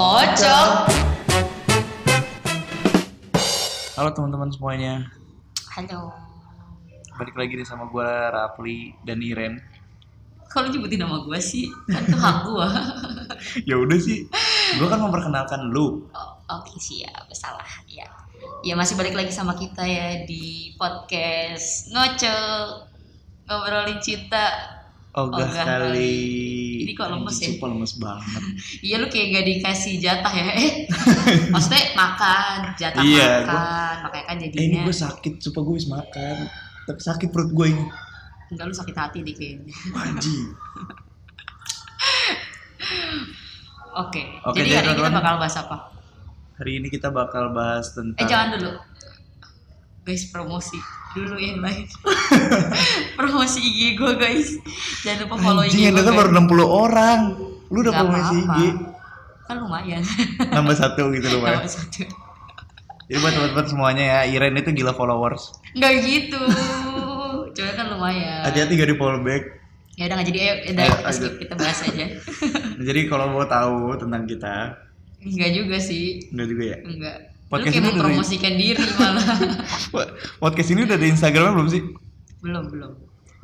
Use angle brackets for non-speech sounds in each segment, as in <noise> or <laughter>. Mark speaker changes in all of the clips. Speaker 1: Ngocok.
Speaker 2: Halo teman-teman semuanya.
Speaker 1: Halo.
Speaker 2: Balik lagi nih sama gue Rapli dan Iren.
Speaker 1: Kalau nyebutin nama gue sih, kan itu hak gue.
Speaker 2: ya udah sih. Gue kan memperkenalkan lu.
Speaker 1: <laughs> Oh, Oke siap, salah ya. Ya masih balik lagi sama kita ya di podcast ngocok ngobrolin cinta.
Speaker 2: Ogah
Speaker 1: Ogah
Speaker 2: kali.
Speaker 1: Oh, Ini kok lemes ya?
Speaker 2: Super lemes
Speaker 1: <laughs>
Speaker 2: banget.
Speaker 1: Iya lu kayak gak dikasih jatah ya? <laughs> Eh, maksudnya makan jatah
Speaker 2: Iya,
Speaker 1: makan, makanya kan
Speaker 2: eh, ini
Speaker 1: jadinya
Speaker 2: gue sakit, supaya gue bisa makan. Tapi sakit perut gue ini.
Speaker 1: enggak lu sakit hati deh kayaknya.
Speaker 2: Wajib.
Speaker 1: Oke,
Speaker 2: Oke,
Speaker 1: jadi
Speaker 2: jadi
Speaker 1: hari ini kita
Speaker 2: teman-teman.
Speaker 1: bakal bahas apa?
Speaker 2: Hari ini kita bakal bahas tentang.
Speaker 1: Eh jangan dulu. Guys promosi dulu yang
Speaker 2: <laughs>
Speaker 1: lain. promosi IG gue guys. Jangan lupa follow IG
Speaker 2: Anjing yang
Speaker 1: gue.
Speaker 2: denger baru 60 orang. Lu udah promosi IG.
Speaker 1: Kan lumayan.
Speaker 2: Nambah satu gitu loh.
Speaker 1: Tambah <laughs> satu.
Speaker 2: Jadi buat teman-teman semuanya ya, Iren itu gila followers.
Speaker 1: Enggak gitu. Coba kan lumayan.
Speaker 2: Hati-hati gak di follow back.
Speaker 1: Ya udah nggak jadi ayo udah
Speaker 2: Ayo,
Speaker 1: kita skip
Speaker 2: lanjut.
Speaker 1: kita bahas aja.
Speaker 2: Jadi kalau mau tahu tentang kita,
Speaker 1: Enggak juga sih.
Speaker 2: enggak juga ya.
Speaker 1: Enggak.
Speaker 2: Podcast
Speaker 1: Lu kayak
Speaker 2: ini dari-
Speaker 1: mempromosikan diri malah. <laughs>
Speaker 2: Wah, Podcast ini udah di Instagramnya belum sih?
Speaker 1: belum, belum.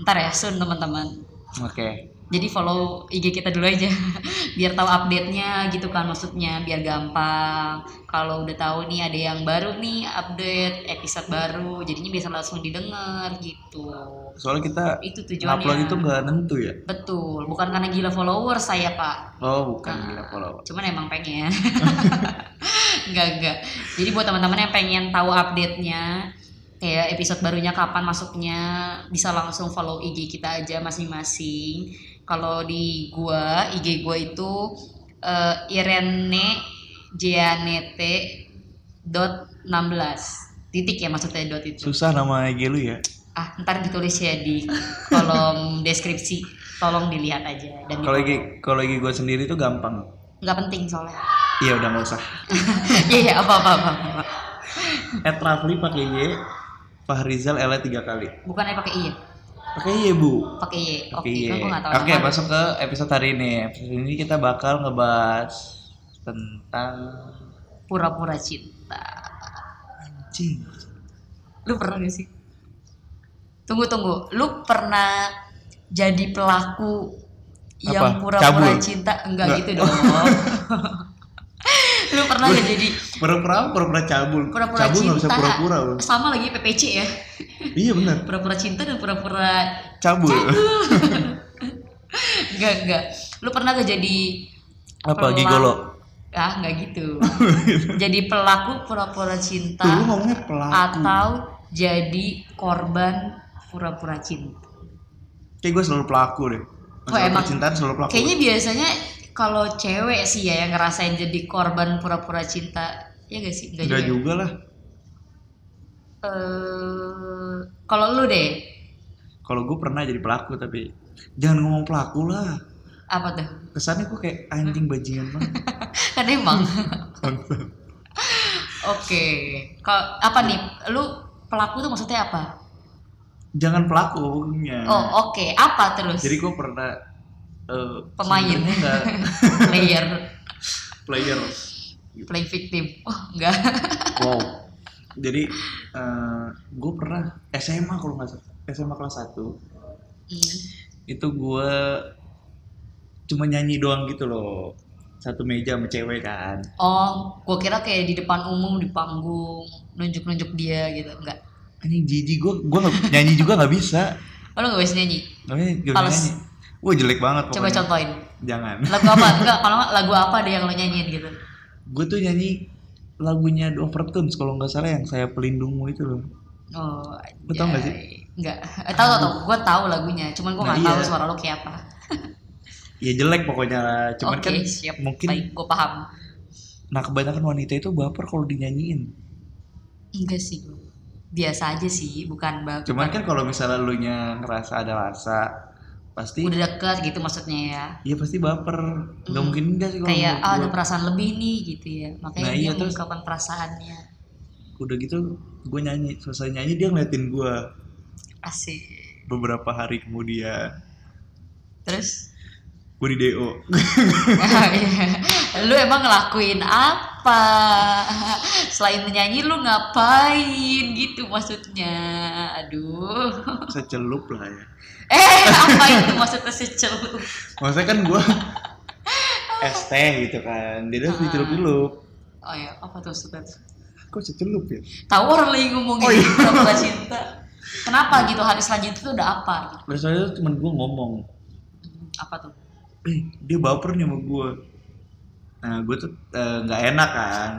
Speaker 1: Ntar ya, soon teman-teman.
Speaker 2: Oke.
Speaker 1: Jadi follow IG kita dulu aja <laughs> biar tahu update-nya gitu kan maksudnya biar gampang. Kalau udah tahu nih ada yang baru nih update episode baru jadinya bisa langsung didengar gitu.
Speaker 2: Soalnya kita
Speaker 1: Itu
Speaker 2: upload
Speaker 1: tujuannya.
Speaker 2: itu nggak tentu ya.
Speaker 1: Betul, bukan karena gila follower saya, Pak.
Speaker 2: Oh, bukan
Speaker 1: Ah.
Speaker 2: gila follower.
Speaker 1: Cuman emang pengen. <laughs> Enggak, enggak. Jadi buat teman-teman yang pengen tahu update-nya kayak episode barunya kapan masuknya bisa langsung follow IG kita aja masing-masing. Kalau di gua, IG gua itu eh, Irene Jeanette dot 16 titik ya maksudnya dot itu
Speaker 2: Susah nama IG lu ya.
Speaker 1: ah ntar ditulis ya di kolom deskripsi tolong dilihat aja dan
Speaker 2: Kalau
Speaker 1: di-
Speaker 2: IG kalau IG gue sendiri tuh gampang.
Speaker 1: nggak penting soalnya <laughs>
Speaker 2: Iya udah nggak usah.
Speaker 1: Iya iya apa apa apa. apa.
Speaker 2: At Rafli pakai Y, Fahrizal Ella tiga kali.
Speaker 1: Bukannya pakai i ya?
Speaker 2: Pakai Y bu.
Speaker 1: Pakai y. Oke,
Speaker 2: Pakai Y.
Speaker 1: kan Oh, gua enggak tahu.
Speaker 2: Oke
Speaker 1: nama.
Speaker 2: masuk ke episode hari ini. Episode ini kita bakal ngebahas tentang
Speaker 1: pura-pura cinta.
Speaker 2: anjing.
Speaker 1: Lu pernah gak sih? Tunggu tunggu. Lu pernah jadi pelaku
Speaker 2: Apa?
Speaker 1: yang pura-pura
Speaker 2: Cabul?
Speaker 1: cinta? Enggak,
Speaker 2: Enggak.
Speaker 1: gitu dong.
Speaker 2: <laughs>
Speaker 1: lu pernah gak jadi
Speaker 2: Pura-pura pura-pura cabul.
Speaker 1: pura-pura
Speaker 2: cabul nggak
Speaker 1: cinta?
Speaker 2: bisa pura-pura. Bu.
Speaker 1: <laughs> Sama lagi PPC ya.
Speaker 2: Iya benar.
Speaker 1: Pura-pura cinta dan pura-pura
Speaker 2: Cabul.
Speaker 1: enggak enggak. Lu pernah gak jadi
Speaker 2: Apa
Speaker 1: Pelaku.
Speaker 2: gigolo?
Speaker 1: ah nggak
Speaker 2: <laughs>
Speaker 1: gitu. jadi pelaku pura-pura cinta.
Speaker 2: Tuh lu ngomongnya pelaku.
Speaker 1: atau jadi korban pura-pura cinta.
Speaker 2: Kayak gue selalu pelaku deh.
Speaker 1: Wah,
Speaker 2: Masalah
Speaker 1: emang.
Speaker 2: percintaan selalu pelaku.
Speaker 1: Kayaknya biasanya kalau cewek sih ya yang ngerasain jadi korban pura-pura cinta. Ya gak sih? Nggak
Speaker 2: Enggak
Speaker 1: juga.
Speaker 2: juga lah.
Speaker 1: Eh, kalau lu deh
Speaker 2: Kalau gue pernah jadi pelaku tapi jangan ngomong pelaku lah.
Speaker 1: apa tuh? <laughs>
Speaker 2: Kesannya gue kayak anjing
Speaker 1: Hmm.
Speaker 2: bajingan banget. <laughs>
Speaker 1: Kan <laughs> emang. Oke. Kalau apa nih? Lu pelaku tuh maksudnya apa?
Speaker 2: jangan pelaku ngomongnya.
Speaker 1: Oh, oke. Apa terus?
Speaker 2: Jadi gue pernah eh,
Speaker 1: Pemain.
Speaker 2: sebenarnya nggak
Speaker 1: <laughs> player
Speaker 2: player.
Speaker 1: play victim. Oh, enggak. <laughs>
Speaker 2: Wow. Jadi gue pernah SMA kalau nggak salah SMA kelas 1
Speaker 1: Hmm.
Speaker 2: itu gue cuma nyanyi doang gitu loh satu meja sama cewek kan
Speaker 1: Oh, gua kira kayak di depan umum di panggung nunjuk-nunjuk dia gitu, enggak.
Speaker 2: anjing jijik gue gue nyanyi juga nggak <laughs> bisa
Speaker 1: Oh, lu gak bisa nyanyi?
Speaker 2: namanya gak bisa
Speaker 1: Males.
Speaker 2: nyanyi wah jelek banget
Speaker 1: Coba
Speaker 2: pokoknya.
Speaker 1: contohin.
Speaker 2: jangan <laughs>
Speaker 1: Lagu apa? Enggak, kalau nggak lagu apa deh yang lo nyanyiin gitu.
Speaker 2: gue tuh nyanyi lagunya The Overtones kalau nggak salah yang saya pelindungmu itu loh
Speaker 1: Oh,
Speaker 2: Lu tau nggak sih?
Speaker 1: Enggak. Eh, tahu tahu tahu. Gua tahu lagunya, cuman gua
Speaker 2: Nah,
Speaker 1: nggak tahu
Speaker 2: iya.
Speaker 1: suara lo kayak apa.
Speaker 2: ya jelek pokoknya lah cuman
Speaker 1: Oke,
Speaker 2: kan
Speaker 1: siap.
Speaker 2: mungkin
Speaker 1: Baik, gua paham.
Speaker 2: nah kebanyakan wanita itu baper kalau dinyanyiin
Speaker 1: Enggak sih gua. Biasa aja sih, bukan bak.
Speaker 2: cuman kan kalau misalnya lu nya ngerasa ada rasa pasti
Speaker 1: udah deket gitu maksudnya ya.
Speaker 2: ya pasti baper nggak
Speaker 1: Hmm.
Speaker 2: mungkin enggak sih kalau
Speaker 1: Kayak
Speaker 2: menurut gua.
Speaker 1: ah, ada perasaan lebih nih gitu ya. Makanya
Speaker 2: Nah,
Speaker 1: dia
Speaker 2: iya, terus-
Speaker 1: mengungkapkan perasaannya.
Speaker 2: udah gitu gue nyanyi selesai nyanyi dia ngeliatin gue
Speaker 1: Asik.
Speaker 2: beberapa hari kemudian
Speaker 1: Terus
Speaker 2: gue di DO
Speaker 1: iya. lu emang ngelakuin apa selain menyanyi lu ngapain gitu maksudnya aduh
Speaker 2: secelup lah ya
Speaker 1: eh apa itu maksudnya secelup
Speaker 2: maksudnya kan gue <laughs> es teh gitu kan dia harus
Speaker 1: Ah.
Speaker 2: dicelup-celup
Speaker 1: oh ya apa tuh maksudnya
Speaker 2: kok secelup ya
Speaker 1: tahu orang lagi ngomongin
Speaker 2: Oh, iya.
Speaker 1: Pura-pura cinta kenapa gitu hari selanjutnya tuh udah apa gitu
Speaker 2: biasanya tuh temen gue ngomong
Speaker 1: Hmm, apa tuh
Speaker 2: eh dia baper nih sama gue nah gue tuh eh, nggak enak kan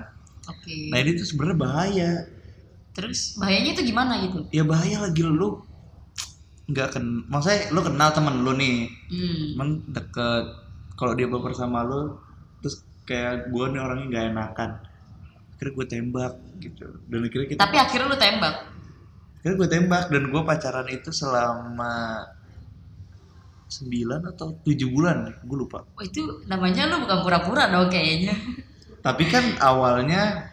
Speaker 1: oke
Speaker 2: nah ini tuh sebenarnya bahaya
Speaker 1: terus bahayanya itu gimana gitu
Speaker 2: ya bahaya lagi lu nggak ken maksudnya lu kenal temen lu nih
Speaker 1: hmm
Speaker 2: temen deket kalau dia baper sama lu terus kayak gue nih orangnya nggak enakan akhirnya gue tembak gitu dan akhirnya kita
Speaker 1: tapi akhirnya lu tembak
Speaker 2: akhirnya gue tembak dan gue pacaran itu selama 9 atau 7 bulan gue lupa
Speaker 1: Wah, Oh, itu namanya lu bukan pura-pura dong kayaknya
Speaker 2: tapi kan awalnya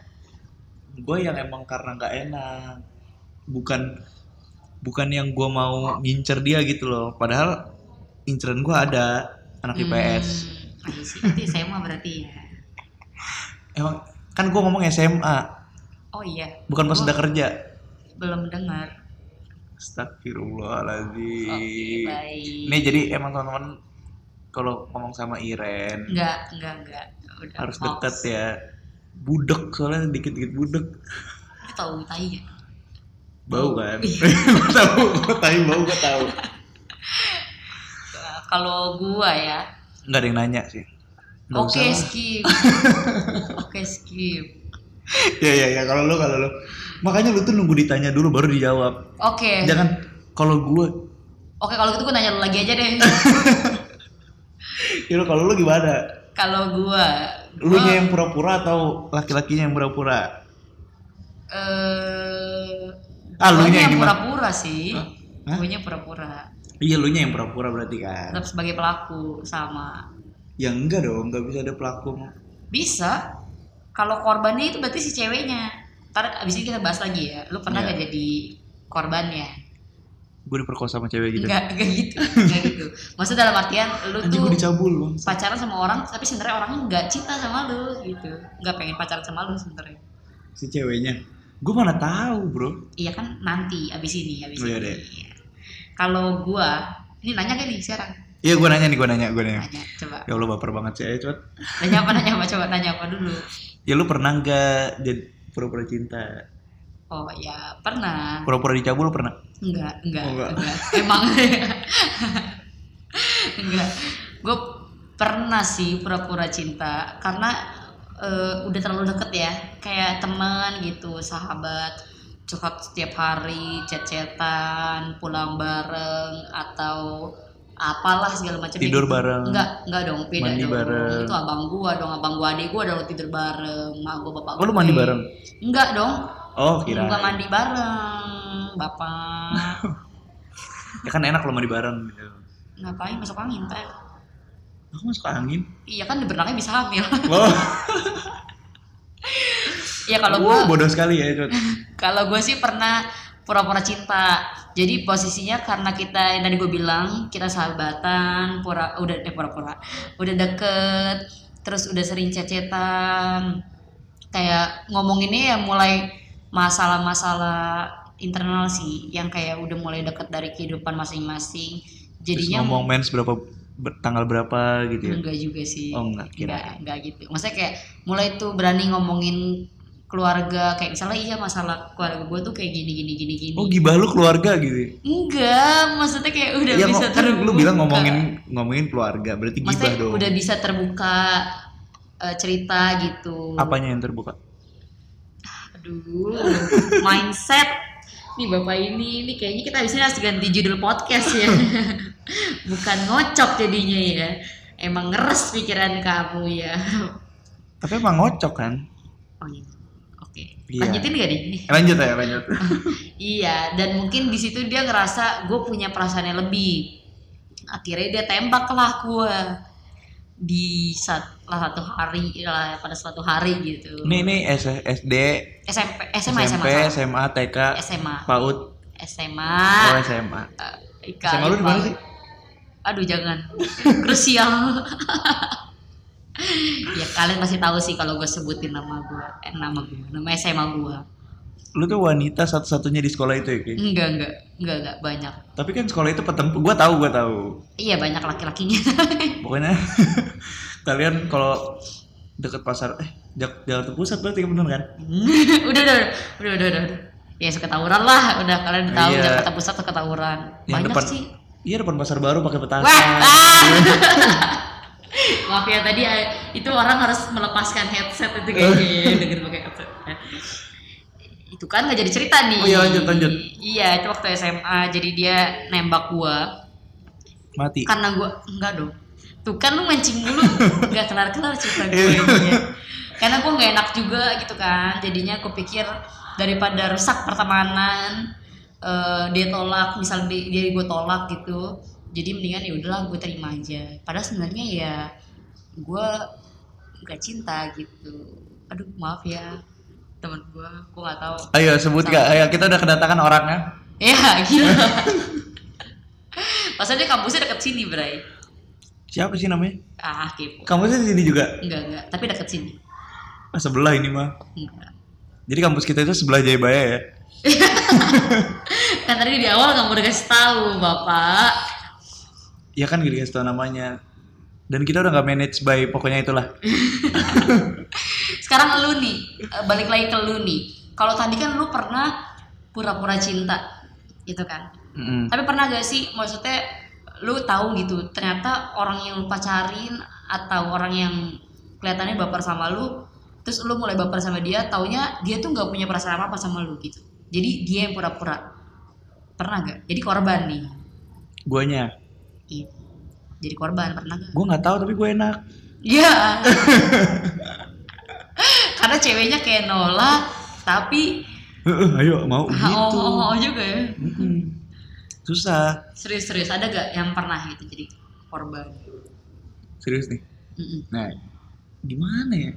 Speaker 2: gue yang emang karena nggak enak bukan bukan yang gue mau ngincer dia gitu loh padahal inceran gue ada anak IPS
Speaker 1: Hmm, iya sih, itu SMA berarti ya.
Speaker 2: emang kan gue ngomong SMA
Speaker 1: Oh iya,
Speaker 2: bukan pas
Speaker 1: Oh.
Speaker 2: udah kerja
Speaker 1: belum dengar. Oke,
Speaker 2: Astagfirullahaladzim
Speaker 1: baik.
Speaker 2: ini jadi emang teman-teman kalau ngomong sama Iren
Speaker 1: Enggak, enggak, enggak. Udah
Speaker 2: harus
Speaker 1: hoax.
Speaker 2: deket ya budek soalnya dikit-dikit budek
Speaker 1: Lu tahu tai ya?
Speaker 2: bau
Speaker 1: Oh. <laughs>
Speaker 2: kan tahu gue tahu bau gue tahu
Speaker 1: Eh, Kalau gua ya,
Speaker 2: nggak ada yang nanya sih Nggak
Speaker 1: oke
Speaker 2: usah lah.
Speaker 1: skip. Oke skip.
Speaker 2: ya ya ya kalau lu kalau lu makanya lu tuh nunggu ditanya dulu baru dijawab
Speaker 1: Oke.
Speaker 2: jangan kalau gue
Speaker 1: Oke, kalau gitu gua nanya lu lagi aja
Speaker 2: <laughs>
Speaker 1: deh.
Speaker 2: ya lu kalau lu gimana
Speaker 1: kalau gua,
Speaker 2: lu
Speaker 1: gua,
Speaker 2: yang pura-pura atau laki-lakinya yang pura-pura
Speaker 1: eh
Speaker 2: Ah, lu
Speaker 1: guanya
Speaker 2: nya yang gimana?
Speaker 1: pura-pura sih.
Speaker 2: Hah? Hah?
Speaker 1: Guanya pura-pura.
Speaker 2: iya lu yang pura-pura berarti kan
Speaker 1: Tetap sebagai pelaku sama
Speaker 2: ya enggak dong nggak bisa ada pelaku
Speaker 1: Bisa. Kalau korbannya itu berarti si ceweknya. Ntar abis ini kita bahas lagi ya. Lu pernah
Speaker 2: Iya.
Speaker 1: gak jadi korbannya?
Speaker 2: gue diperkosa sama cewek gitu
Speaker 1: Enggak, enggak gitu. Enggak gitu. Maksud dalam artian lu
Speaker 2: anjing
Speaker 1: tuh
Speaker 2: gue dicabul bang
Speaker 1: pacaran sama orang tapi sebenarnya orangnya nggak cinta sama lu gitu. Nggak pengen pacaran sama lu sebenarnya.
Speaker 2: si ceweknya gue mana tahu bro
Speaker 1: Iya kan nanti abis ini, abis
Speaker 2: Oh, iya
Speaker 1: ini.
Speaker 2: deh.
Speaker 1: Kalau gua ini nanya gak nih sekarang?
Speaker 2: iya gue nanya nih gue nanya gue nanya
Speaker 1: Nanya, coba.
Speaker 2: ya Allah baper banget sih ayo cepet
Speaker 1: Nanya apa, nanya apa, coba nanya apa dulu.
Speaker 2: ya lu pernah nggak jadi pura-pura cinta
Speaker 1: Oh ya, pernah.
Speaker 2: pura-pura dicabul pernah
Speaker 1: Enggak, enggak,
Speaker 2: Oh, enggak.
Speaker 1: enggak. Emang <laughs> enggak. Gue pernah sih pura-pura cinta karena eh, udah terlalu deket ya, kayak teman gitu, sahabat curhat setiap hari, chat-chatan, pulang bareng atau apalah segala macam
Speaker 2: Tidur bareng.
Speaker 1: enggak enggak dong beda
Speaker 2: Mandi
Speaker 1: dong
Speaker 2: bareng.
Speaker 1: itu abang gua dong abang gua adik gua dong tidur bareng mak gua bapak
Speaker 2: oh lu mandi
Speaker 1: gue.
Speaker 2: bareng
Speaker 1: enggak dong
Speaker 2: oh kira
Speaker 1: enggak mandi bareng bapak
Speaker 2: <laughs> ya kan enak kalau mandi bareng gitu
Speaker 1: ngapain masuk angin teh
Speaker 2: aku masuk angin
Speaker 1: iya kan berenangnya bisa hamil <laughs>
Speaker 2: wow
Speaker 1: iya kalau
Speaker 2: Wow,
Speaker 1: gua
Speaker 2: bodoh sekali ya Cot.
Speaker 1: kalau gue sih pernah pura-pura cinta jadi posisinya karena kita yang tadi gue bilang kita sahabatan pura udah eh, pura-pura udah deket terus udah sering cecetan kayak ngomonginnya ya mulai masalah-masalah internal sih yang kayak udah mulai deket dari kehidupan masing-masing
Speaker 2: Terus
Speaker 1: jadinya
Speaker 2: ngomong mens berapa ber- tanggal berapa gitu ya
Speaker 1: enggak juga sih
Speaker 2: oh enggak kira
Speaker 1: nggak nggak gitu maksudnya kayak mulai tuh berani ngomongin keluarga kayak misalnya iya masalah keluarga gue tuh kayak gini gini gini gini
Speaker 2: oh gibah lu keluarga gitu ya?
Speaker 1: enggak maksudnya kayak udah
Speaker 2: ya
Speaker 1: bisa
Speaker 2: ngo- kan
Speaker 1: terbuka
Speaker 2: lu bilang ngomongin ngomongin keluarga berarti
Speaker 1: maksudnya
Speaker 2: gibah dong
Speaker 1: udah bisa terbuka eh, cerita gitu
Speaker 2: apanya yang terbuka
Speaker 1: aduh mindset nih bapak ini ini kayaknya kita habisnya harus ganti judul podcast ya <laughs> bukan ngocok jadinya ya emang ngeres pikiran kamu ya
Speaker 2: tapi emang ngocok kan
Speaker 1: oh iya oke
Speaker 2: Iya.
Speaker 1: lanjutin gak nih
Speaker 2: Eh, lanjut ya lanjut
Speaker 1: Iya, dan mungkin di situ dia ngerasa gue punya perasaan yang lebih. Akhirnya dia tembak lah gue di sat- lah satu hari lah pada suatu hari gitu.
Speaker 2: ini ini S- SD
Speaker 1: SMP, SMA,
Speaker 2: SMP
Speaker 1: SMA,
Speaker 2: SMA TK
Speaker 1: SMA,
Speaker 2: PAUD
Speaker 1: SMA.
Speaker 2: oh SMA
Speaker 1: Eh,
Speaker 2: SMA lu di mana
Speaker 1: Paud.
Speaker 2: sih
Speaker 1: aduh jangan <laughs> krusial <laughs> ya kalian pasti tahu sih kalau gue sebutin nama gue eh, nama gue nama SMA gue
Speaker 2: Lu tuh wanita satu-satunya di sekolah itu ya, Ki?
Speaker 1: enggak enggak enggak enggak banyak
Speaker 2: Tapi kan sekolah itu petem... Gua tahu, gua tahu.
Speaker 1: iya banyak laki-lakinya <laughs>
Speaker 2: Pokoknya <laughs> kalian kalau deket pasar eh Jak- Jakarta Pusat berarti bener kan?
Speaker 1: udah, udah udah udah udah udah ya suka tawuran lah udah kalian udah tahu
Speaker 2: Iya.
Speaker 1: Jakarta Pusat suka tawuran
Speaker 2: Yang
Speaker 1: banyak
Speaker 2: depan-
Speaker 1: sih
Speaker 2: Iya depan pasar baru pakai petasan.
Speaker 1: wah ah! <laughs> maaf ya tadi eh, itu orang harus melepaskan headset itu
Speaker 2: <laughs>
Speaker 1: kayaknya denger pakai headset itu kan nggak jadi cerita nih
Speaker 2: Oh iya, lanjut, lanjut.
Speaker 1: iya itu waktu SMA jadi dia nembak gua
Speaker 2: Mati.
Speaker 1: karena gua enggak dong tuh kan lu mancing dulu nggak kelar kelar cerita gue
Speaker 2: Iya.
Speaker 1: ini. karena gua nggak enak juga gitu kan jadinya aku pikir daripada rusak pertemanan eh, dia tolak misal di- dia gue tolak gitu jadi mendingan ya udahlah gue terima aja padahal sebenarnya ya gua nggak cinta gitu aduh maaf ya teman gua gua nggak tahu
Speaker 2: Ayo sebut kak. Ayo kita udah kedatangan orangnya.
Speaker 1: ya gila Maksudnya kampusnya deket sini, Bray.
Speaker 2: Siapa sih namanya?
Speaker 1: Ah, kepo.
Speaker 2: Kampusnya di sini juga.
Speaker 1: Enggak, enggak. Tapi deket sini.
Speaker 2: Ah, sebelah ini mah.
Speaker 1: Enggak.
Speaker 2: Jadi kampus kita itu sebelah Jayabaya ya.
Speaker 1: Kan tadi di awal kamu udah kasih tahu, Bapak.
Speaker 2: Ya kan gini kasih tau namanya. Dan kita udah nggak manage by pokoknya itulah.
Speaker 1: Sekarang lu nih, eh, balik lagi ke lu nih. Kalau tadi kan lu pernah pura-pura cinta, gitu kan?
Speaker 2: Mm-mm.
Speaker 1: Tapi pernah gak sih, maksudnya lu tahu gitu, ternyata orang yang lu pacarin atau orang yang kelihatannya baper sama lu, terus lu mulai baper sama dia, taunya dia tuh nggak punya perasaan apa-apa sama lu gitu. Jadi dia yang pura-pura. Pernah gak? Jadi korban nih.
Speaker 2: Guanya.
Speaker 1: Iya. Jadi korban pernah gak?
Speaker 2: Gua nggak tahu tapi gue enak.
Speaker 1: Iya. <laughs> Karena ceweknya kayak nolak, tapi
Speaker 2: Heeh, ayo
Speaker 1: <laughs>
Speaker 2: mau
Speaker 1: oh,
Speaker 2: gitu.
Speaker 1: oh, oh juga ya.
Speaker 2: Mm-mm. Susah.
Speaker 1: Serius-serius ada gak yang pernah gitu jadi korban?
Speaker 2: Serius nih.
Speaker 1: Mm-mm.
Speaker 2: Nah, gimana ya?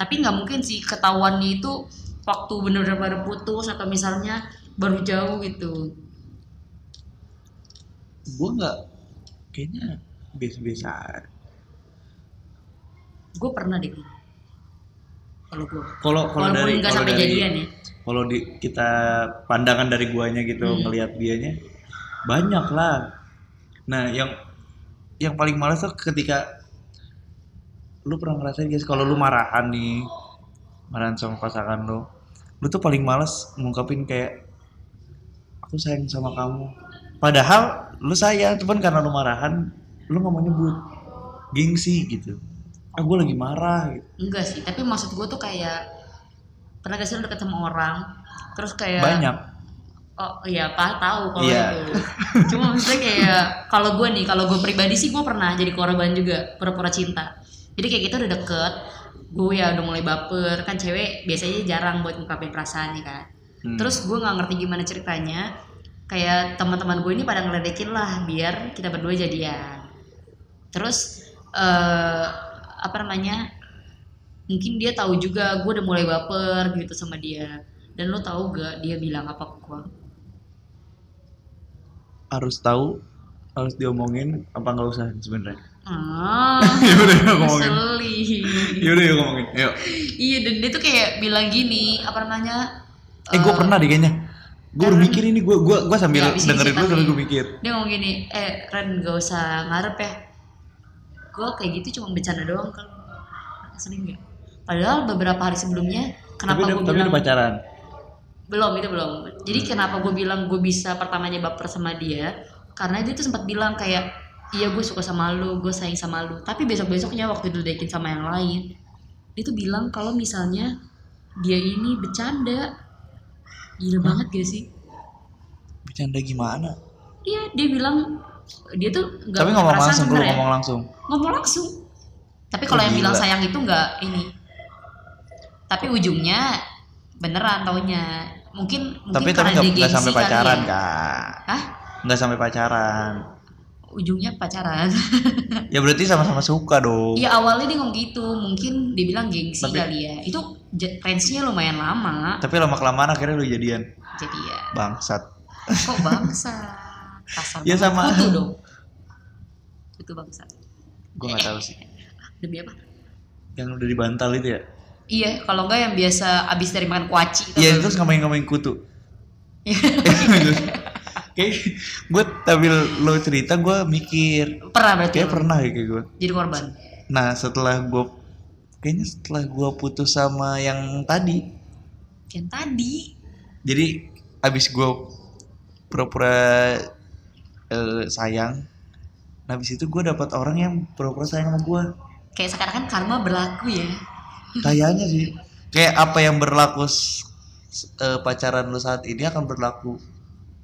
Speaker 1: Tapi nggak mungkin sih ketahuannya itu waktu bener-bener baru putus atau misalnya baru jauh gitu.
Speaker 2: Gua nggak kayaknya biasa-biasa. aja.
Speaker 1: Gue pernah deh. Kalau gue,
Speaker 2: Kalau kalau dari
Speaker 1: walaupun nggak
Speaker 2: kalau
Speaker 1: sampai
Speaker 2: dari
Speaker 1: jadian ya.
Speaker 2: kalau di kita pandangan dari guanya gitu
Speaker 1: Hmm.
Speaker 2: ngelihat dianya banyak lah. Nah, yang yang paling males tuh ketika lu pernah ngerasain guys kalau lu marahan nih marahan sama pasangan lu lu tuh paling males ngungkapin kayak aku sayang sama kamu padahal lu sayang cuman karena lu marahan lu nggak mau nyebut gengsi gitu ah gue lagi marah gitu.
Speaker 1: Enggak sih, tapi maksud gue tuh kayak pernah gak sih lu deket sama orang, terus kayak
Speaker 2: banyak
Speaker 1: Oh iya, Pak tahu kalau
Speaker 2: Iya.
Speaker 1: itu. Cuma maksudnya kayak kalau gue nih, kalau gue pribadi sih gue pernah jadi korban juga pura-pura cinta. Jadi kayak kita udah deket, gue ya udah mulai baper kan cewek biasanya jarang buat ngungkapin perasaannya kan.
Speaker 2: Hmm.
Speaker 1: Terus gue nggak ngerti gimana ceritanya, kayak teman-teman gue ini pada ngeledekin lah biar kita berdua jadian. Terus eh apa namanya? Mungkin dia tahu juga gue udah mulai baper gitu sama dia. Dan lo tahu gak dia bilang apa ke gue?
Speaker 2: harus tahu harus diomongin apa nggak usah sebenarnya <laughs>
Speaker 1: Ah,
Speaker 2: ya udah yuk ngomongin
Speaker 1: ngeselin.
Speaker 2: ya udah yuk ngomongin ayo
Speaker 1: Iya, dan dia tuh kayak bilang gini, apa namanya?
Speaker 2: eh gue pernah deh kayaknya gue udah mikir ini gue gue gue sambil
Speaker 1: Ya, abis ini
Speaker 2: dengerin lu
Speaker 1: cerita
Speaker 2: sambil
Speaker 1: nih.
Speaker 2: gue mikir
Speaker 1: Dia ngomong gini, eh Ren gak usah ngarep ya. Gue kayak gitu cuma bercanda doang kalau sering gak? Padahal beberapa hari sebelumnya,
Speaker 2: tapi
Speaker 1: kenapa
Speaker 2: udah,
Speaker 1: gue
Speaker 2: tapi
Speaker 1: bilang
Speaker 2: udah pacaran
Speaker 1: belum itu belum. Jadi
Speaker 2: Hmm.
Speaker 1: kenapa gue bilang gue bisa pertamanya baper sama dia? Karena dia tuh sempat bilang kayak iya gue suka sama lu, gue sayang sama lu. Tapi besok besoknya waktu diledekin sama yang lain, dia tuh bilang kalau misalnya dia ini bercanda, gila banget gak sih?
Speaker 2: bercanda gimana
Speaker 1: Iya dia bilang dia tuh nggak
Speaker 2: tapi
Speaker 1: punya
Speaker 2: ngomong
Speaker 1: perasaan
Speaker 2: langsung lu
Speaker 1: sebenarnya.
Speaker 2: ngomong langsung
Speaker 1: ngomong langsung. Tapi
Speaker 2: Oh,
Speaker 1: kalau yang
Speaker 2: gila.
Speaker 1: bilang sayang itu nggak ini. Tapi ujungnya beneran taunya mungkin mungkin
Speaker 2: tapi tapi
Speaker 1: karena
Speaker 2: nggak
Speaker 1: dia
Speaker 2: nggak
Speaker 1: gengsi
Speaker 2: sampai
Speaker 1: kali
Speaker 2: pacaran kan?
Speaker 1: ya.
Speaker 2: kak
Speaker 1: Hah?
Speaker 2: nggak sampai pacaran
Speaker 1: ujungnya
Speaker 2: <laughs>
Speaker 1: pacaran.
Speaker 2: ya berarti sama-sama suka dong
Speaker 1: ya awalnya dia ngomong gitu, mungkin dia bilang gengsi
Speaker 2: Tapi-
Speaker 1: kali ya. Itu j- range-nya lumayan lama.
Speaker 2: tapi lama kelamaan akhirnya lu jadian
Speaker 1: Jadi ya
Speaker 2: bangsat
Speaker 1: kok bangsa. Kasar
Speaker 2: Ya,
Speaker 1: banget.
Speaker 2: sama.
Speaker 1: Kutu dong. Kutu bangsa.
Speaker 2: gue nggak tahu sih
Speaker 1: Demi apa?
Speaker 2: yang udah di bantal itu ya
Speaker 1: Iya, kalau enggak yang biasa abis dari makan kuaci. kan. tau
Speaker 2: Iya
Speaker 1: nggak?
Speaker 2: terus ngomongin-ngomongin kutu <laughs> kayak gue tapi lo cerita gue mikir
Speaker 1: pernah berarti.
Speaker 2: kayak
Speaker 1: lo
Speaker 2: pernah ya kayak gue
Speaker 1: Jadi korban.
Speaker 2: nah setelah gue kayaknya setelah gue putus sama yang tadi
Speaker 1: Yang tadi.
Speaker 2: jadi abis gue pura-pura eh, sayang nah abis itu gue dapat orang yang pura-pura sayang sama gue
Speaker 1: Kayak sekarang kan karma berlaku ya.
Speaker 2: kayaknya sih kayak apa yang berlaku s- s- eh, pacaran lo saat ini akan berlaku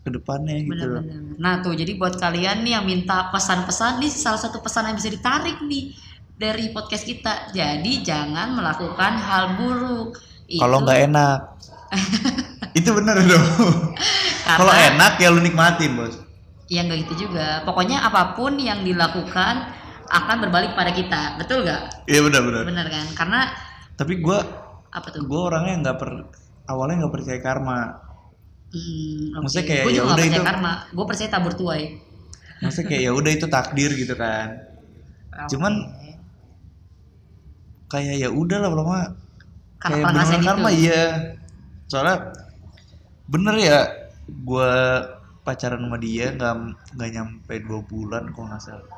Speaker 2: ke depannya gitu loh.
Speaker 1: Benar-benar. Nah tuh, jadi buat kalian nih yang minta pesan-pesan nih, salah satu pesan yang bisa ditarik nih dari podcast kita. Jadi jangan melakukan hal buruk. Itu
Speaker 2: kalau nggak e- enak <laughs> itu bener dong
Speaker 1: karena-
Speaker 2: kalau e- enak ya lu nikmatin bos
Speaker 1: Ya nggak gitu juga. Pokoknya apapun yang dilakukan akan berbalik pada kita. Betul nggak?
Speaker 2: iya bener bener
Speaker 1: Bener kan? Karena
Speaker 2: tapi gue
Speaker 1: apa tuh?
Speaker 2: gue orangnya nggak per awalnya nggak percaya karma
Speaker 1: Hmm, oke.
Speaker 2: Maksudnya kayak
Speaker 1: Gua juga
Speaker 2: ya
Speaker 1: nggak
Speaker 2: udah
Speaker 1: percaya
Speaker 2: itu-
Speaker 1: karma. Gue percaya tabur tuai.
Speaker 2: maksudnya kayak ya udah itu takdir gitu kan Cuman-
Speaker 1: Oke.
Speaker 2: kayak ya udah lah lama
Speaker 1: karena gitu.
Speaker 2: kayak
Speaker 1: pernah
Speaker 2: bener
Speaker 1: ngerasain
Speaker 2: karma
Speaker 1: itu.
Speaker 2: iya soalnya bener ya gue pacaran sama dia nggak nggak nyampe dua bulan kok nggak salah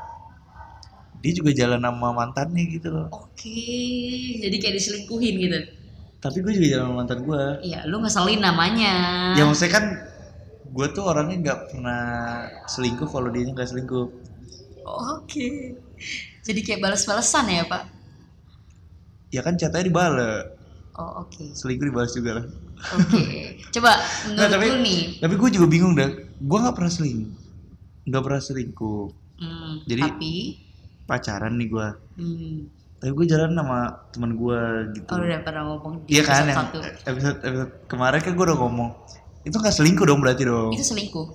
Speaker 2: dia juga jalan sama mantannya gitu loh
Speaker 1: Oke, jadi kayak diselingkuhin gitu.
Speaker 2: tapi gue juga jalan sama mantan gue
Speaker 1: Iya, lu ngeselin namanya.
Speaker 2: ya maksudnya kan gue tuh orangnya nggak pernah selingkuh kalau dia nggak selingkuh
Speaker 1: Oh, Oke. Jadi kayak balas-balasan ya, Pak?
Speaker 2: ya kan catanya dibales
Speaker 1: Oh, oke.
Speaker 2: selingkuh dibales juga lah
Speaker 1: Oke.
Speaker 2: <laughs>
Speaker 1: Coba menurut
Speaker 2: Nah, tapi-
Speaker 1: lu nih.
Speaker 2: tapi gue juga bingung dah gue nggak pernah selingkuh nggak pernah selingkuh
Speaker 1: Hmm,
Speaker 2: Jadi-
Speaker 1: tapi
Speaker 2: pacaran nih gue
Speaker 1: hmm,
Speaker 2: tapi gue jalan sama teman gue gitu
Speaker 1: oh, udah pernah ngomong di
Speaker 2: iya kan yang
Speaker 1: episode satu.
Speaker 2: episode episode kemarin kan gue udah ngomong itu nggak selingkuh dong berarti dong
Speaker 1: Itu selingkuh.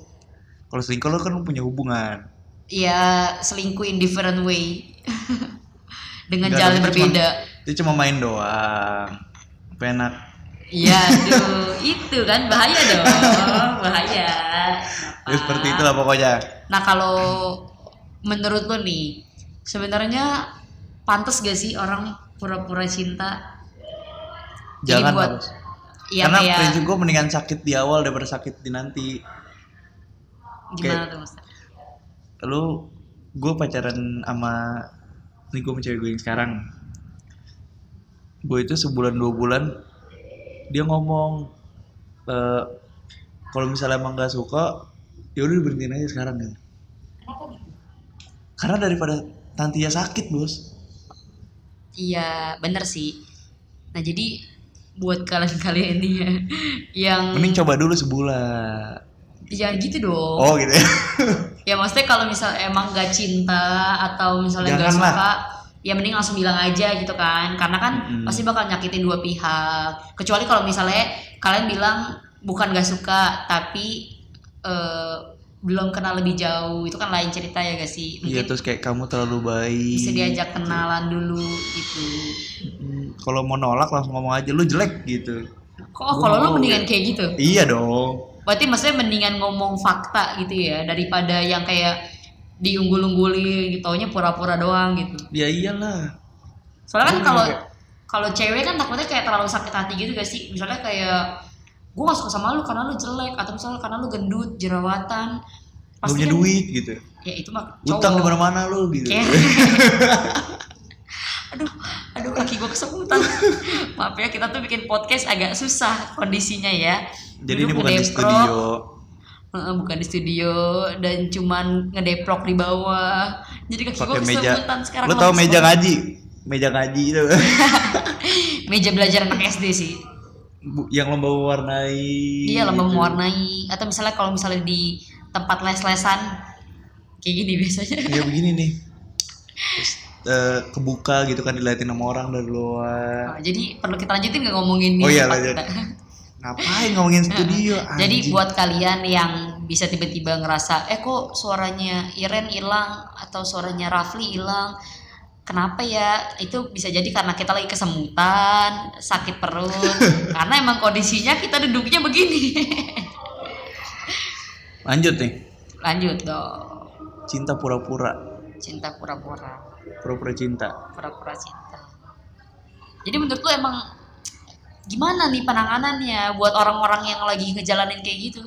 Speaker 2: kalau selingkuh lo kan punya hubungan
Speaker 1: Iya, selingkuh in different way. <laughs> Dengan
Speaker 2: Nggak,
Speaker 1: jalan yang
Speaker 2: tapi cuman-
Speaker 1: berbeda.
Speaker 2: itu cuma main doang penak
Speaker 1: Iya, aduh, <laughs> itu kan bahaya dong, bahaya.
Speaker 2: ya,
Speaker 1: Ah.
Speaker 2: seperti itulah pokoknya
Speaker 1: Nah kalau menurut lo nih, sebenarnya pantas gak sih orang pura-pura cinta? Jadi
Speaker 2: jangan
Speaker 1: buat-
Speaker 2: harus.
Speaker 1: Ya
Speaker 2: Karena
Speaker 1: kayak
Speaker 2: prinsip gue mendingan sakit di awal daripada sakit di nanti.
Speaker 1: gimana tuh mas?
Speaker 2: Lu gue pacaran sama nih gue sama cewek gue yang sekarang. Gue itu sebulan dua bulan dia ngomong eh kalau misalnya emang gak suka ya udah berhentiin aja sekarang ya. Karena daripada nanti ya sakit bos.
Speaker 1: Iya bener sih. Nah jadi buat kalian-kalian nih ya, yang
Speaker 2: Mending coba dulu sebulan.
Speaker 1: jangan gitu dong.
Speaker 2: Oh gitu ya.
Speaker 1: Ya maksudnya kalau misal emang gak cinta atau misalnya gak
Speaker 2: Janganlah.
Speaker 1: suka, ya mending langsung bilang aja gitu kan. Karena kan
Speaker 2: Mm.
Speaker 1: pasti bakal nyakitin dua pihak. Kecuali kalau misalnya kalian bilang bukan gak suka tapi eh, belum kenal lebih jauh, itu kan lain cerita ya gak sih?
Speaker 2: Iya
Speaker 1: Mungkin
Speaker 2: terus kayak kamu terlalu baik.
Speaker 1: bisa diajak kenalan dulu gitu.
Speaker 2: Mm, Kalau mau nolak langsung ngomong aja lu jelek gitu.
Speaker 1: Kok
Speaker 2: Gua
Speaker 1: kalau
Speaker 2: mau.
Speaker 1: lu mendingan kayak gitu?
Speaker 2: Iya dong.
Speaker 1: Berarti maksudnya mendingan ngomong fakta gitu ya daripada yang kayak diunggul-unggulin gitu, taunya pura-pura doang gitu.
Speaker 2: Ya iyalah.
Speaker 1: Soalnya kan
Speaker 2: Iya,
Speaker 1: kalau
Speaker 2: kayak-
Speaker 1: kalau cewek kan takutnya kayak terlalu sakit hati gitu gak sih? Misalnya kayak gue gak suka sama lu karena lu jelek atau misalnya karena lu gendut, jerawatan.
Speaker 2: Gak punya
Speaker 1: kan-
Speaker 2: duit gitu.
Speaker 1: Ya itu mah
Speaker 2: Utang
Speaker 1: <laughs> cowok.
Speaker 2: kemana-mana lu gitu.
Speaker 1: Kayak- aduh, aduh kaki gue kesemutan. <laughs> Maaf ya kita tuh bikin podcast agak susah kondisinya ya.
Speaker 2: Jadi ini
Speaker 1: Duduk
Speaker 2: bukan di
Speaker 1: ngedeprok,
Speaker 2: studio.
Speaker 1: Heeh, bukan di studio dan cuman ngedeprok di bawah. Jadi kaki gue
Speaker 2: Pakai meja.
Speaker 1: kesemutan sekarang.
Speaker 2: Lu tau
Speaker 1: lemes
Speaker 2: meja
Speaker 1: banget.
Speaker 2: ngaji? Meja ngaji itu. <laughs>
Speaker 1: Meja belajar anak SD sih.
Speaker 2: Bu- yang lomba mewarnai.
Speaker 1: Iya lomba
Speaker 2: gitu.
Speaker 1: mewarnai atau misalnya kalau misalnya di tempat les-lesan kayak gini biasanya.
Speaker 2: Iya begini nih. Terus, eh, kebuka gitu kan diliatin sama orang dari luar.
Speaker 1: Nah, jadi perlu kita lanjutin nggak ngomongin
Speaker 2: Oh
Speaker 1: di
Speaker 2: iya,
Speaker 1: tempat
Speaker 2: lanjut.
Speaker 1: kita?
Speaker 2: Ngapain ngomongin studio?
Speaker 1: <laughs> Jadi
Speaker 2: anjing.
Speaker 1: buat kalian yang bisa tiba-tiba ngerasa eh kok suaranya Iren hilang atau suaranya Rafli hilang Kenapa ya? Itu bisa jadi karena kita lagi kesemutan, sakit perut.
Speaker 2: <laughs>
Speaker 1: karena emang kondisinya kita duduknya begini.
Speaker 2: lanjut nih.
Speaker 1: <laughs> Lanjut dong.
Speaker 2: Cinta pura-pura,
Speaker 1: Cinta pura-pura,
Speaker 2: pura-pura cinta.
Speaker 1: pura-pura cinta. Jadi menurut lu emang gimana nih penanganannya buat orang-orang yang lagi ngejalanin kayak gitu?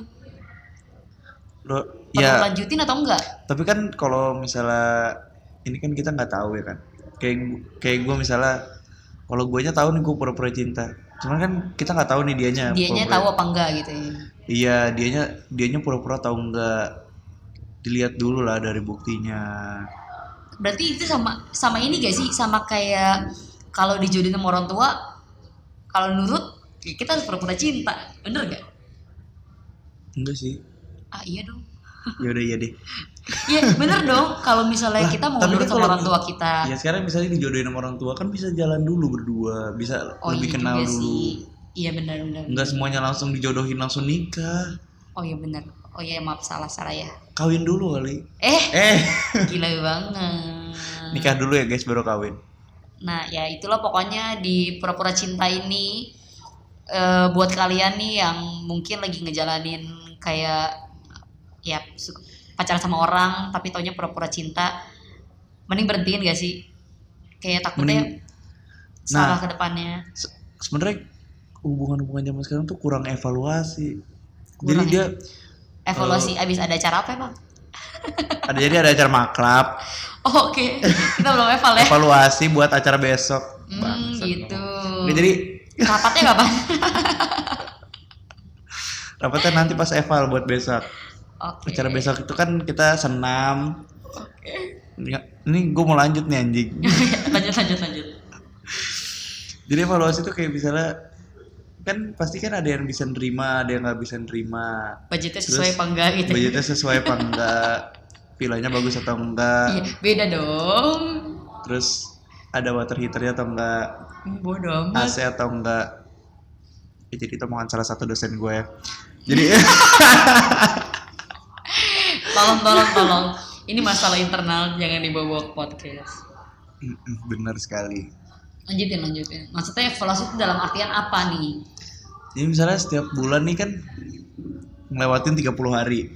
Speaker 2: Lo
Speaker 1: Perlu
Speaker 2: ya
Speaker 1: lanjutin atau enggak?
Speaker 2: tapi kan kalau misalnya ini kan kita nggak tahu ya kan kayak gu- kayak gue misalnya kalau gue nya tahu nih gue pura-pura cinta cuman kan kita nggak tahu nih dianya
Speaker 1: Dianya
Speaker 2: pura-pura-
Speaker 1: tahu apa enggak gitu ya.
Speaker 2: iya dianya dianya pura-pura tahu nggak dilihat dulu lah dari buktinya
Speaker 1: Berarti itu sama sama ini gak sih? Sama kayak kalau dijodohin sama orang tua, kalau nurut ya kita harus pura-pura cinta, bener gak?
Speaker 2: enggak sih
Speaker 1: <laughs> Ah iya dong.
Speaker 2: ya udah ya deh
Speaker 1: Iya bener dong. Kalau misalnya
Speaker 2: Lah,
Speaker 1: kita mau
Speaker 2: tapi
Speaker 1: nurut
Speaker 2: kan
Speaker 1: sama
Speaker 2: kalau-
Speaker 1: orang tua kita,
Speaker 2: ya sekarang misalnya dijodohin sama orang tua kan bisa jalan dulu berdua bisa
Speaker 1: oh
Speaker 2: lebih
Speaker 1: iya
Speaker 2: kenal
Speaker 1: juga
Speaker 2: dulu
Speaker 1: sih. Iya benar benar.
Speaker 2: nggak semuanya langsung dijodohin langsung nikah
Speaker 1: Oh iya benar. Oh iya maaf salah salah ya.
Speaker 2: kawin dulu kali
Speaker 1: Eh
Speaker 2: eh
Speaker 1: gila banget.
Speaker 2: nikah dulu ya guys baru kawin
Speaker 1: Nah ya itulah pokoknya di pura-pura cinta ini eh, buat kalian nih yang mungkin lagi ngejalanin kayak ya su- pacaran sama orang tapi taunya pura-pura cinta mending berhentiin gak sih kayak takutnya
Speaker 2: Mending- nah.
Speaker 1: salah ke depannya
Speaker 2: se- sebenarnya hubungan-hubungan zaman sekarang tuh kurang evaluasi. jadi
Speaker 1: Kurang ya?
Speaker 2: dia
Speaker 1: evaluasi abis ada acara apa emang?
Speaker 2: <laughs> ada jadi ada acara maklab,
Speaker 1: <laughs> Oh, Oke, kita belum eval ya.
Speaker 2: evaluasi buat acara besok.
Speaker 1: Hmm,
Speaker 2: Bangsat
Speaker 1: gitu.
Speaker 2: emang. Nggak, jadi
Speaker 1: Rapatnya
Speaker 2: <laughs>
Speaker 1: kapan?
Speaker 2: rapatnya nanti pas eval buat besok.
Speaker 1: Oke.
Speaker 2: Acara besok itu kan kita senam. Nggak- Ini gue mau lanjut nih
Speaker 1: <laughs>
Speaker 2: anjing.
Speaker 1: lanjut lanjut lanjut.
Speaker 2: jadi evaluasi tuh kayak misalnya kan pasti kan ada yang bisa nerima, ada yang nggak bisa nerima.
Speaker 1: Budgetnya
Speaker 2: Terus,
Speaker 1: sesuai apa enggak gitu?
Speaker 2: Budgetnya sesuai apa enggak? Pilihannya bagus atau enggak?
Speaker 1: Iya, beda dong.
Speaker 2: terus ada water heaternya atau enggak
Speaker 1: Bodoh amat.
Speaker 2: AC atau enggak Ya, jadi itu omongan salah satu dosen gue ya jadi <laughs>
Speaker 1: Tolong tolong tolong. Ini masalah internal jangan dibawa ke podcast.
Speaker 2: benar sekali
Speaker 1: Lanjutin lanjutin. Maksudnya evaluasi itu dalam artian apa nih?
Speaker 2: jadi misalnya setiap bulan nih kan ngelewatin 30 hari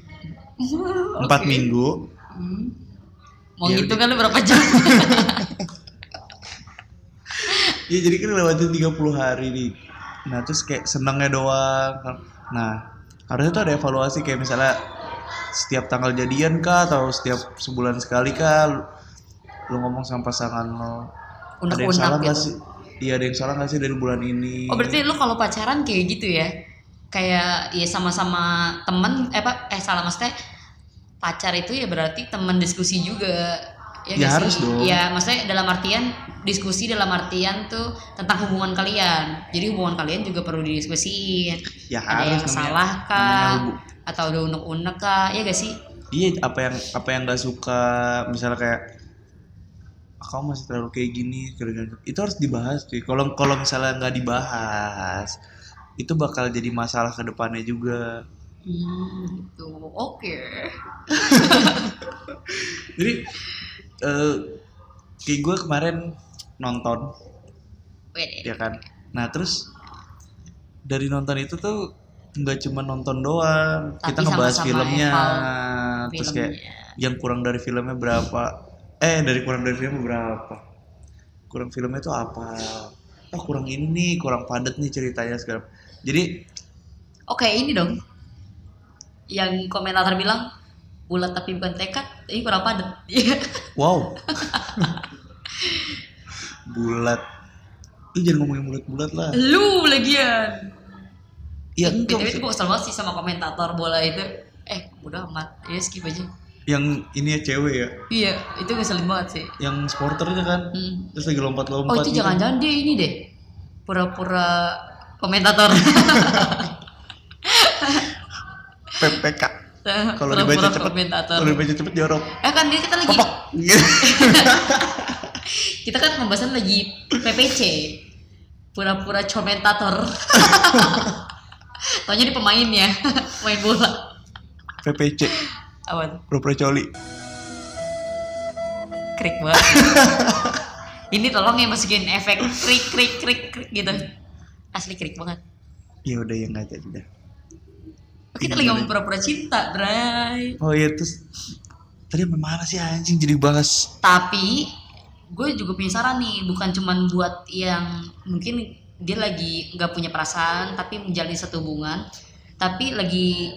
Speaker 2: empat
Speaker 1: Oke.
Speaker 2: minggu
Speaker 1: Hmm. Mau
Speaker 2: Ya
Speaker 1: gitu kan lu berapa jam?
Speaker 2: ya jadi kan ngelewatin 30 hari nih nah terus kayak senangnya doang nah harusnya tuh ada evaluasi kayak misalnya setiap tanggal jadian kah atau setiap sebulan sekali kah lu, lu ngomong sama pasangan lo ada yang salah
Speaker 1: Unek-unek
Speaker 2: nggak
Speaker 1: gitu.
Speaker 2: sih? Iya ada yang salah nggak sih dari bulan ini?
Speaker 1: Oh berarti lu kalau pacaran kayak gitu ya? Kayak ya sama-sama temen eh apa eh salah maksudnya pacar itu ya berarti temen diskusi juga.
Speaker 2: Ya
Speaker 1: nggak
Speaker 2: harus
Speaker 1: sih?
Speaker 2: dong.
Speaker 1: Ya maksudnya dalam artian diskusi dalam artian tuh tentang hubungan kalian. Jadi hubungan kalian juga perlu didiskusiin.
Speaker 2: ya
Speaker 1: Ada
Speaker 2: harus
Speaker 1: yang
Speaker 2: namanya-
Speaker 1: salah kah?
Speaker 2: namanya hubu-
Speaker 1: Atau ada unek-unek kah? Ya gak sih?
Speaker 2: Iya apa yang apa yang nggak suka misalnya kayak "Ah, kamu masih terlalu kayak gini kira-kira." gitu. itu harus dibahas cuy. Kalau kalau misalnya nggak dibahas itu bakal jadi masalah ke depannya juga.
Speaker 1: Hmm, gitu. Oke.
Speaker 2: Jadi eh kayak gue kemarin nonton
Speaker 1: Wede.
Speaker 2: ya kan. Nah terus dari nonton itu tuh nggak cuma nonton doang,
Speaker 1: Tapi
Speaker 2: kita ngebahas
Speaker 1: sama-sama
Speaker 2: filmnya,
Speaker 1: eval
Speaker 2: terus kayak
Speaker 1: Filmnya.
Speaker 2: yang kurang dari filmnya berapa eh dari kurang dari filmnya berapa kurang filmnya itu apa oh kurang ini nih kurang padat nih ceritanya segala jadi
Speaker 1: Oke ini dong Yang komentator bilang Bulat tapi bukan tekad Ini kurang padat <laughs> Iya <laughs>
Speaker 2: wow bulat lu jangan ngomongin bulat-bulat lah
Speaker 1: Lu lagian
Speaker 2: iya enggak,
Speaker 1: BTW itu
Speaker 2: maksud-
Speaker 1: gue kesel banget sih sama komentator bola itu Eh udah amat Ya skip aja
Speaker 2: yang ini ya cewek ya
Speaker 1: Iya itu ngeselin banget sih
Speaker 2: yang sporternya kan
Speaker 1: Hmm.
Speaker 2: terus lagi lompat-lompat
Speaker 1: Oh itu
Speaker 2: gitu.
Speaker 1: jangan-jangan dia ini deh Pura-pura komentator
Speaker 2: PPK kalau dibaca
Speaker 1: Pura-pura
Speaker 2: cepet
Speaker 1: komentator
Speaker 2: kalau dibaca cepet jorok
Speaker 1: Eh kan dia kita lagi
Speaker 2: <laughs> kopok gitu.
Speaker 1: Kita kan pembahasan lagi PPC Pura-pura komentator <laughs> Taunya di <laughs> pemainnya Main bola
Speaker 2: PPC
Speaker 1: Awan,
Speaker 2: pura coli
Speaker 1: krik banget. <laughs> Ini tolong ya masukin efek krik krik krik krik gitu. Asli krik banget.
Speaker 2: ya udah ya nggak jadi dah
Speaker 1: Kita lagi ngomong pura-pura cinta, Bray.
Speaker 2: Oh iya terus tadi sampai mana sih anjing jadi bahas
Speaker 1: Tapi gue juga punya saran nih, bukan cuman buat yang mungkin dia lagi nggak punya perasaan tapi menjalin satu hubungan, tapi lagi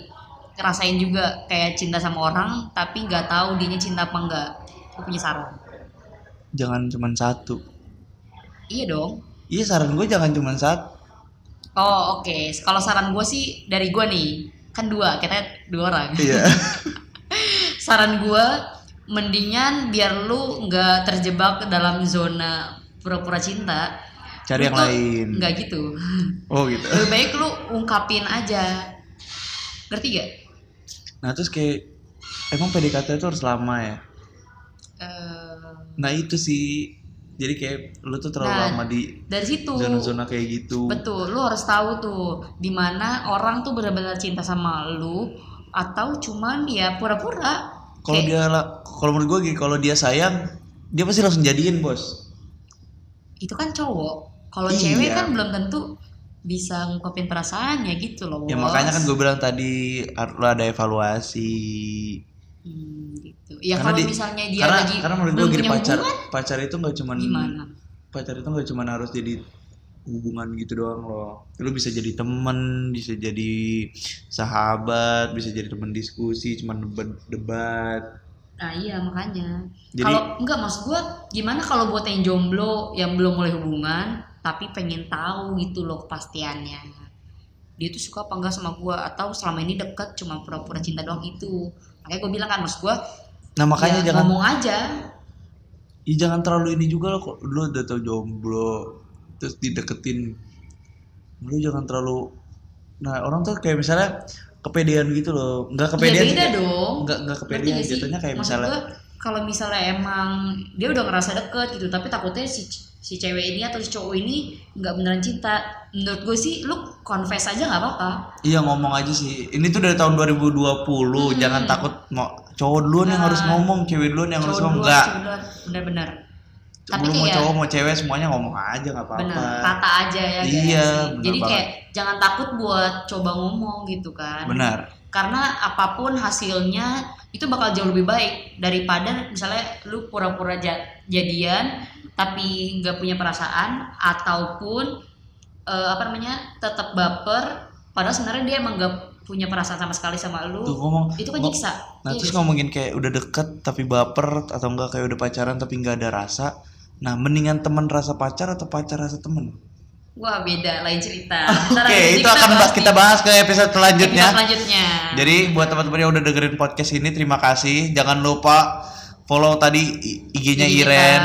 Speaker 1: ngerasain juga kayak cinta sama orang tapi nggak tahu dianya cinta apa enggak. Gue punya saran.
Speaker 2: jangan cuman satu.
Speaker 1: Iya dong.
Speaker 2: Iya saran gue jangan cuman satu.
Speaker 1: Oh, oke. Kalau saran gue sih dari gue nih, kan dua, kita dua orang. <laughs>
Speaker 2: Iya.
Speaker 1: saran gue mendingan biar lu nggak terjebak ke dalam zona pura-pura cinta
Speaker 2: Cari yang lain.
Speaker 1: nggak gitu
Speaker 2: Oh gitu.
Speaker 1: lebih baik lu ungkapin aja ngerti gak
Speaker 2: Nah terus kayak emang PDKT itu harus lama ya.
Speaker 1: Eh,
Speaker 2: Nah itu sih jadi kayak lu tuh terlalu
Speaker 1: Nah,
Speaker 2: lama di
Speaker 1: dari situ
Speaker 2: zona-zona kayak gitu.
Speaker 1: betul lu harus tahu tuh dimana orang tuh benar-benar cinta sama lu atau cuman ya pura-pura
Speaker 2: Kalau
Speaker 1: Kayak,
Speaker 2: dia la- kalau menurut gue gini, kalau dia sayang dia pasti langsung jadiin bos.
Speaker 1: itu kan cowok kalau
Speaker 2: Iya.
Speaker 1: cewek kan belum tentu bisa ngungkapin perasaannya gitu loh
Speaker 2: Ya
Speaker 1: Bos.
Speaker 2: makanya kan gue bilang tadi har- lu ada evaluasi.
Speaker 1: Hmm, gitu. Ya
Speaker 2: Karena
Speaker 1: kalau
Speaker 2: di-
Speaker 1: misalnya dia
Speaker 2: karena
Speaker 1: lagi
Speaker 2: karena menurut gue
Speaker 1: belum
Speaker 2: gini
Speaker 1: punya
Speaker 2: pacar
Speaker 1: hubungan,
Speaker 2: pacar itu nggak cuman
Speaker 1: gimana?
Speaker 2: pacar itu nggak cuman harus jadi hubungan gitu doang loh. Lu bisa jadi temen, bisa jadi sahabat, bisa jadi temen diskusi, cuman debat. debat.
Speaker 1: Nah iya makanya.
Speaker 2: Jadi-
Speaker 1: Kalau enggak maksud gue gimana kalau buat yang jomblo yang belum mulai hubungan tapi pengen tahu gitu loh kepastiannya. Dia tuh suka apa enggak sama gue atau selama ini deket cuma pura-pura cinta doang itu. Makanya gue bilang kan maksud gue
Speaker 2: Nah makanya
Speaker 1: ya,
Speaker 2: jangan
Speaker 1: ngomong aja. Iya,
Speaker 2: Ih, jangan terlalu ini juga lo kok lu udah tau jomblo terus dideketin lu jangan terlalu nah orang tuh kayak misalnya kepedean gitu loh nggak kepedean
Speaker 1: ya beda dong.
Speaker 2: nggak nggak
Speaker 1: Ngerti
Speaker 2: kepedean
Speaker 1: gak sih?
Speaker 2: jatuhnya kayak
Speaker 1: Maksud
Speaker 2: misalnya
Speaker 1: gua, kalau misalnya emang dia udah ngerasa deket gitu tapi takutnya si si cewek ini atau si cowok ini nggak beneran cinta menurut gue sih lu confess aja nggak apa-apa
Speaker 2: iya ngomong aja sih ini tuh dari tahun 2020 jangan takut mau cowok duluan yang
Speaker 1: Hmm. Nah.
Speaker 2: harus ngomong cewek duluan yang harus
Speaker 1: cowok
Speaker 2: ngomong
Speaker 1: duluan,
Speaker 2: enggak
Speaker 1: cewek duluan. bener-bener tapi
Speaker 2: belum mau
Speaker 1: kayak
Speaker 2: cowok mau cewek semuanya ngomong aja nggak apa-apa
Speaker 1: bener kata aja ya guys.
Speaker 2: Iya, bener
Speaker 1: jadi
Speaker 2: banget.
Speaker 1: kayak jangan takut buat coba ngomong gitu kan
Speaker 2: benar
Speaker 1: karena apapun hasilnya itu bakal jauh lebih baik daripada misalnya lu pura-pura ja- jadian tapi nggak punya perasaan ataupun eh, apa namanya tetap baper padahal sebenarnya dia emang nggak punya perasaan sama sekali sama lu
Speaker 2: tuh ngomong
Speaker 1: itu kan
Speaker 2: ngo-
Speaker 1: nyiksa
Speaker 2: Nah
Speaker 1: Iya
Speaker 2: terus
Speaker 1: nggak sih?
Speaker 2: ngomongin kayak udah deket tapi baper atau enggak kayak udah pacaran tapi nggak ada rasa. Nah mendingan teman rasa pacar atau pacar rasa temen?
Speaker 1: wah beda lain
Speaker 2: <laughs>
Speaker 1: cerita
Speaker 2: Oke
Speaker 1: Ntar nanti
Speaker 2: itu akan bahas, kita bahas ke episode
Speaker 1: di episode
Speaker 2: selanjutnya.
Speaker 1: selanjutnya
Speaker 2: Jadi buat teman-teman yang udah dengerin podcast ini terima kasih. Jangan lupa follow tadi i- IG-nya
Speaker 1: Jadi kita-
Speaker 2: Iren.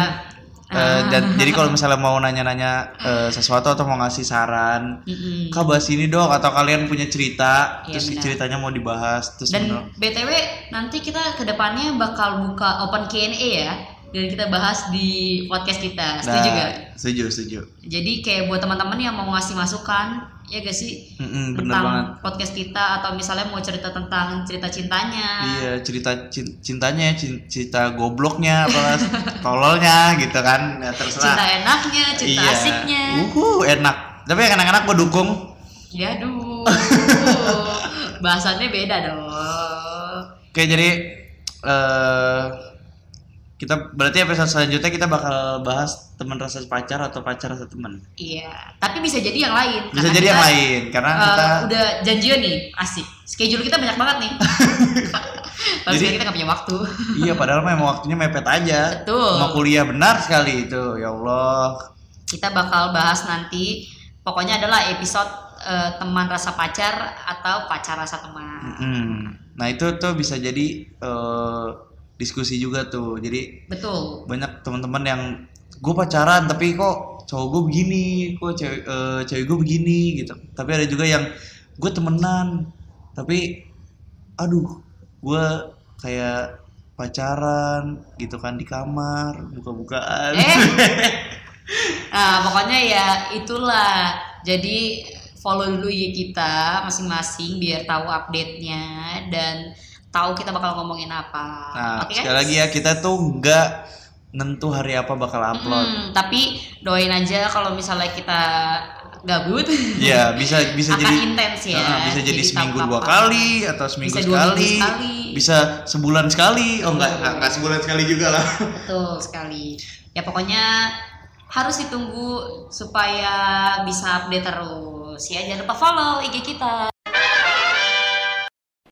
Speaker 2: Eh,
Speaker 1: Ah.
Speaker 2: dan jadi kalau misalnya mau nanya-nanya eh, sesuatu atau mau ngasih saran,
Speaker 1: Mm-mm.
Speaker 2: kak bahas ini dong atau kalian punya cerita
Speaker 1: Iya,
Speaker 2: terus
Speaker 1: benar.
Speaker 2: ceritanya mau dibahas terus
Speaker 1: Dan
Speaker 2: menurut-
Speaker 1: BTW nanti kita kedepannya bakal buka open Q&A ya dan kita bahas di podcast kita setuju
Speaker 2: Nah,
Speaker 1: gak?
Speaker 2: Setuju, setuju.
Speaker 1: Jadi kayak buat teman-teman yang mau ngasih masukan ya gak sih
Speaker 2: Mm-mm, bener
Speaker 1: tentang
Speaker 2: banget.
Speaker 1: podcast kita atau misalnya mau cerita tentang cerita cintanya
Speaker 2: Iya cerita cin- cintanya, cin- cerita gobloknya,
Speaker 1: <laughs>
Speaker 2: apa tololnya gitu kan, ya terserah.
Speaker 1: cinta enaknya cinta
Speaker 2: Iya.
Speaker 1: asiknya
Speaker 2: Uhuh, enak. Tapi yang anak-anak gue dukung.
Speaker 1: ya
Speaker 2: <laughs>
Speaker 1: aduh bahasannya beda dong
Speaker 2: Oke jadi eh kita berarti episode selanjutnya kita bakal bahas teman rasa pacar atau pacar rasa teman.
Speaker 1: iya tapi bisa jadi yang lain
Speaker 2: Bisa
Speaker 1: karena
Speaker 2: jadi
Speaker 1: kita,
Speaker 2: yang lain karena
Speaker 1: eh,
Speaker 2: Ah,
Speaker 1: <laughs>
Speaker 2: kita
Speaker 1: udah janjian nih asik schedule kita banyak
Speaker 2: <laughs>
Speaker 1: banget nih Padahal
Speaker 2: Jadi-
Speaker 1: sekarang kita gak punya waktu
Speaker 2: iya padahal memang waktunya mepet aja.
Speaker 1: Betul.
Speaker 2: Mau kuliah benar sekali itu ya Allah.
Speaker 1: kita bakal bahas nanti pokoknya adalah episode eh, teman rasa pacar atau pacar rasa teman
Speaker 2: Mm-mm. Nah itu tuh bisa jadi eh, diskusi juga tuh. Jadi
Speaker 1: betul
Speaker 2: banyak teman-teman yang gue pacaran tapi kok cowok gue begini kok cewek eh, cewek gue begini gitu tapi ada juga yang gue temenan tapi aduh gue kayak pacaran gitu kan di kamar buka-bukaan <laughs>
Speaker 1: eh nah pokoknya ya itulah jadi follow dulu IG kita masing-masing biar tahu update-nya dan tahu kita bakal ngomongin apa
Speaker 2: nah
Speaker 1: Oke, kan?
Speaker 2: sekali
Speaker 1: guys?
Speaker 2: lagi ya kita tuh nggak
Speaker 1: Hmm.
Speaker 2: nentu hari apa bakal upload
Speaker 1: Mm, tapi doain aja kalau misalnya kita gabut <laughs>
Speaker 2: Iya bisa bisa
Speaker 1: akan
Speaker 2: jadi
Speaker 1: intens ya
Speaker 2: Heeh, bisa jadi, seminggu dua
Speaker 1: tampak-
Speaker 2: kali atau seminggu
Speaker 1: Bisa dua
Speaker 2: sekali,
Speaker 1: minggu sekali.
Speaker 2: bisa sebulan sekali oh enggak enggak, enggak sebulan sekali juga lah
Speaker 1: Betul sekali. Ya pokoknya harus ditunggu supaya bisa update terus. Ya jangan lupa follow IG kita.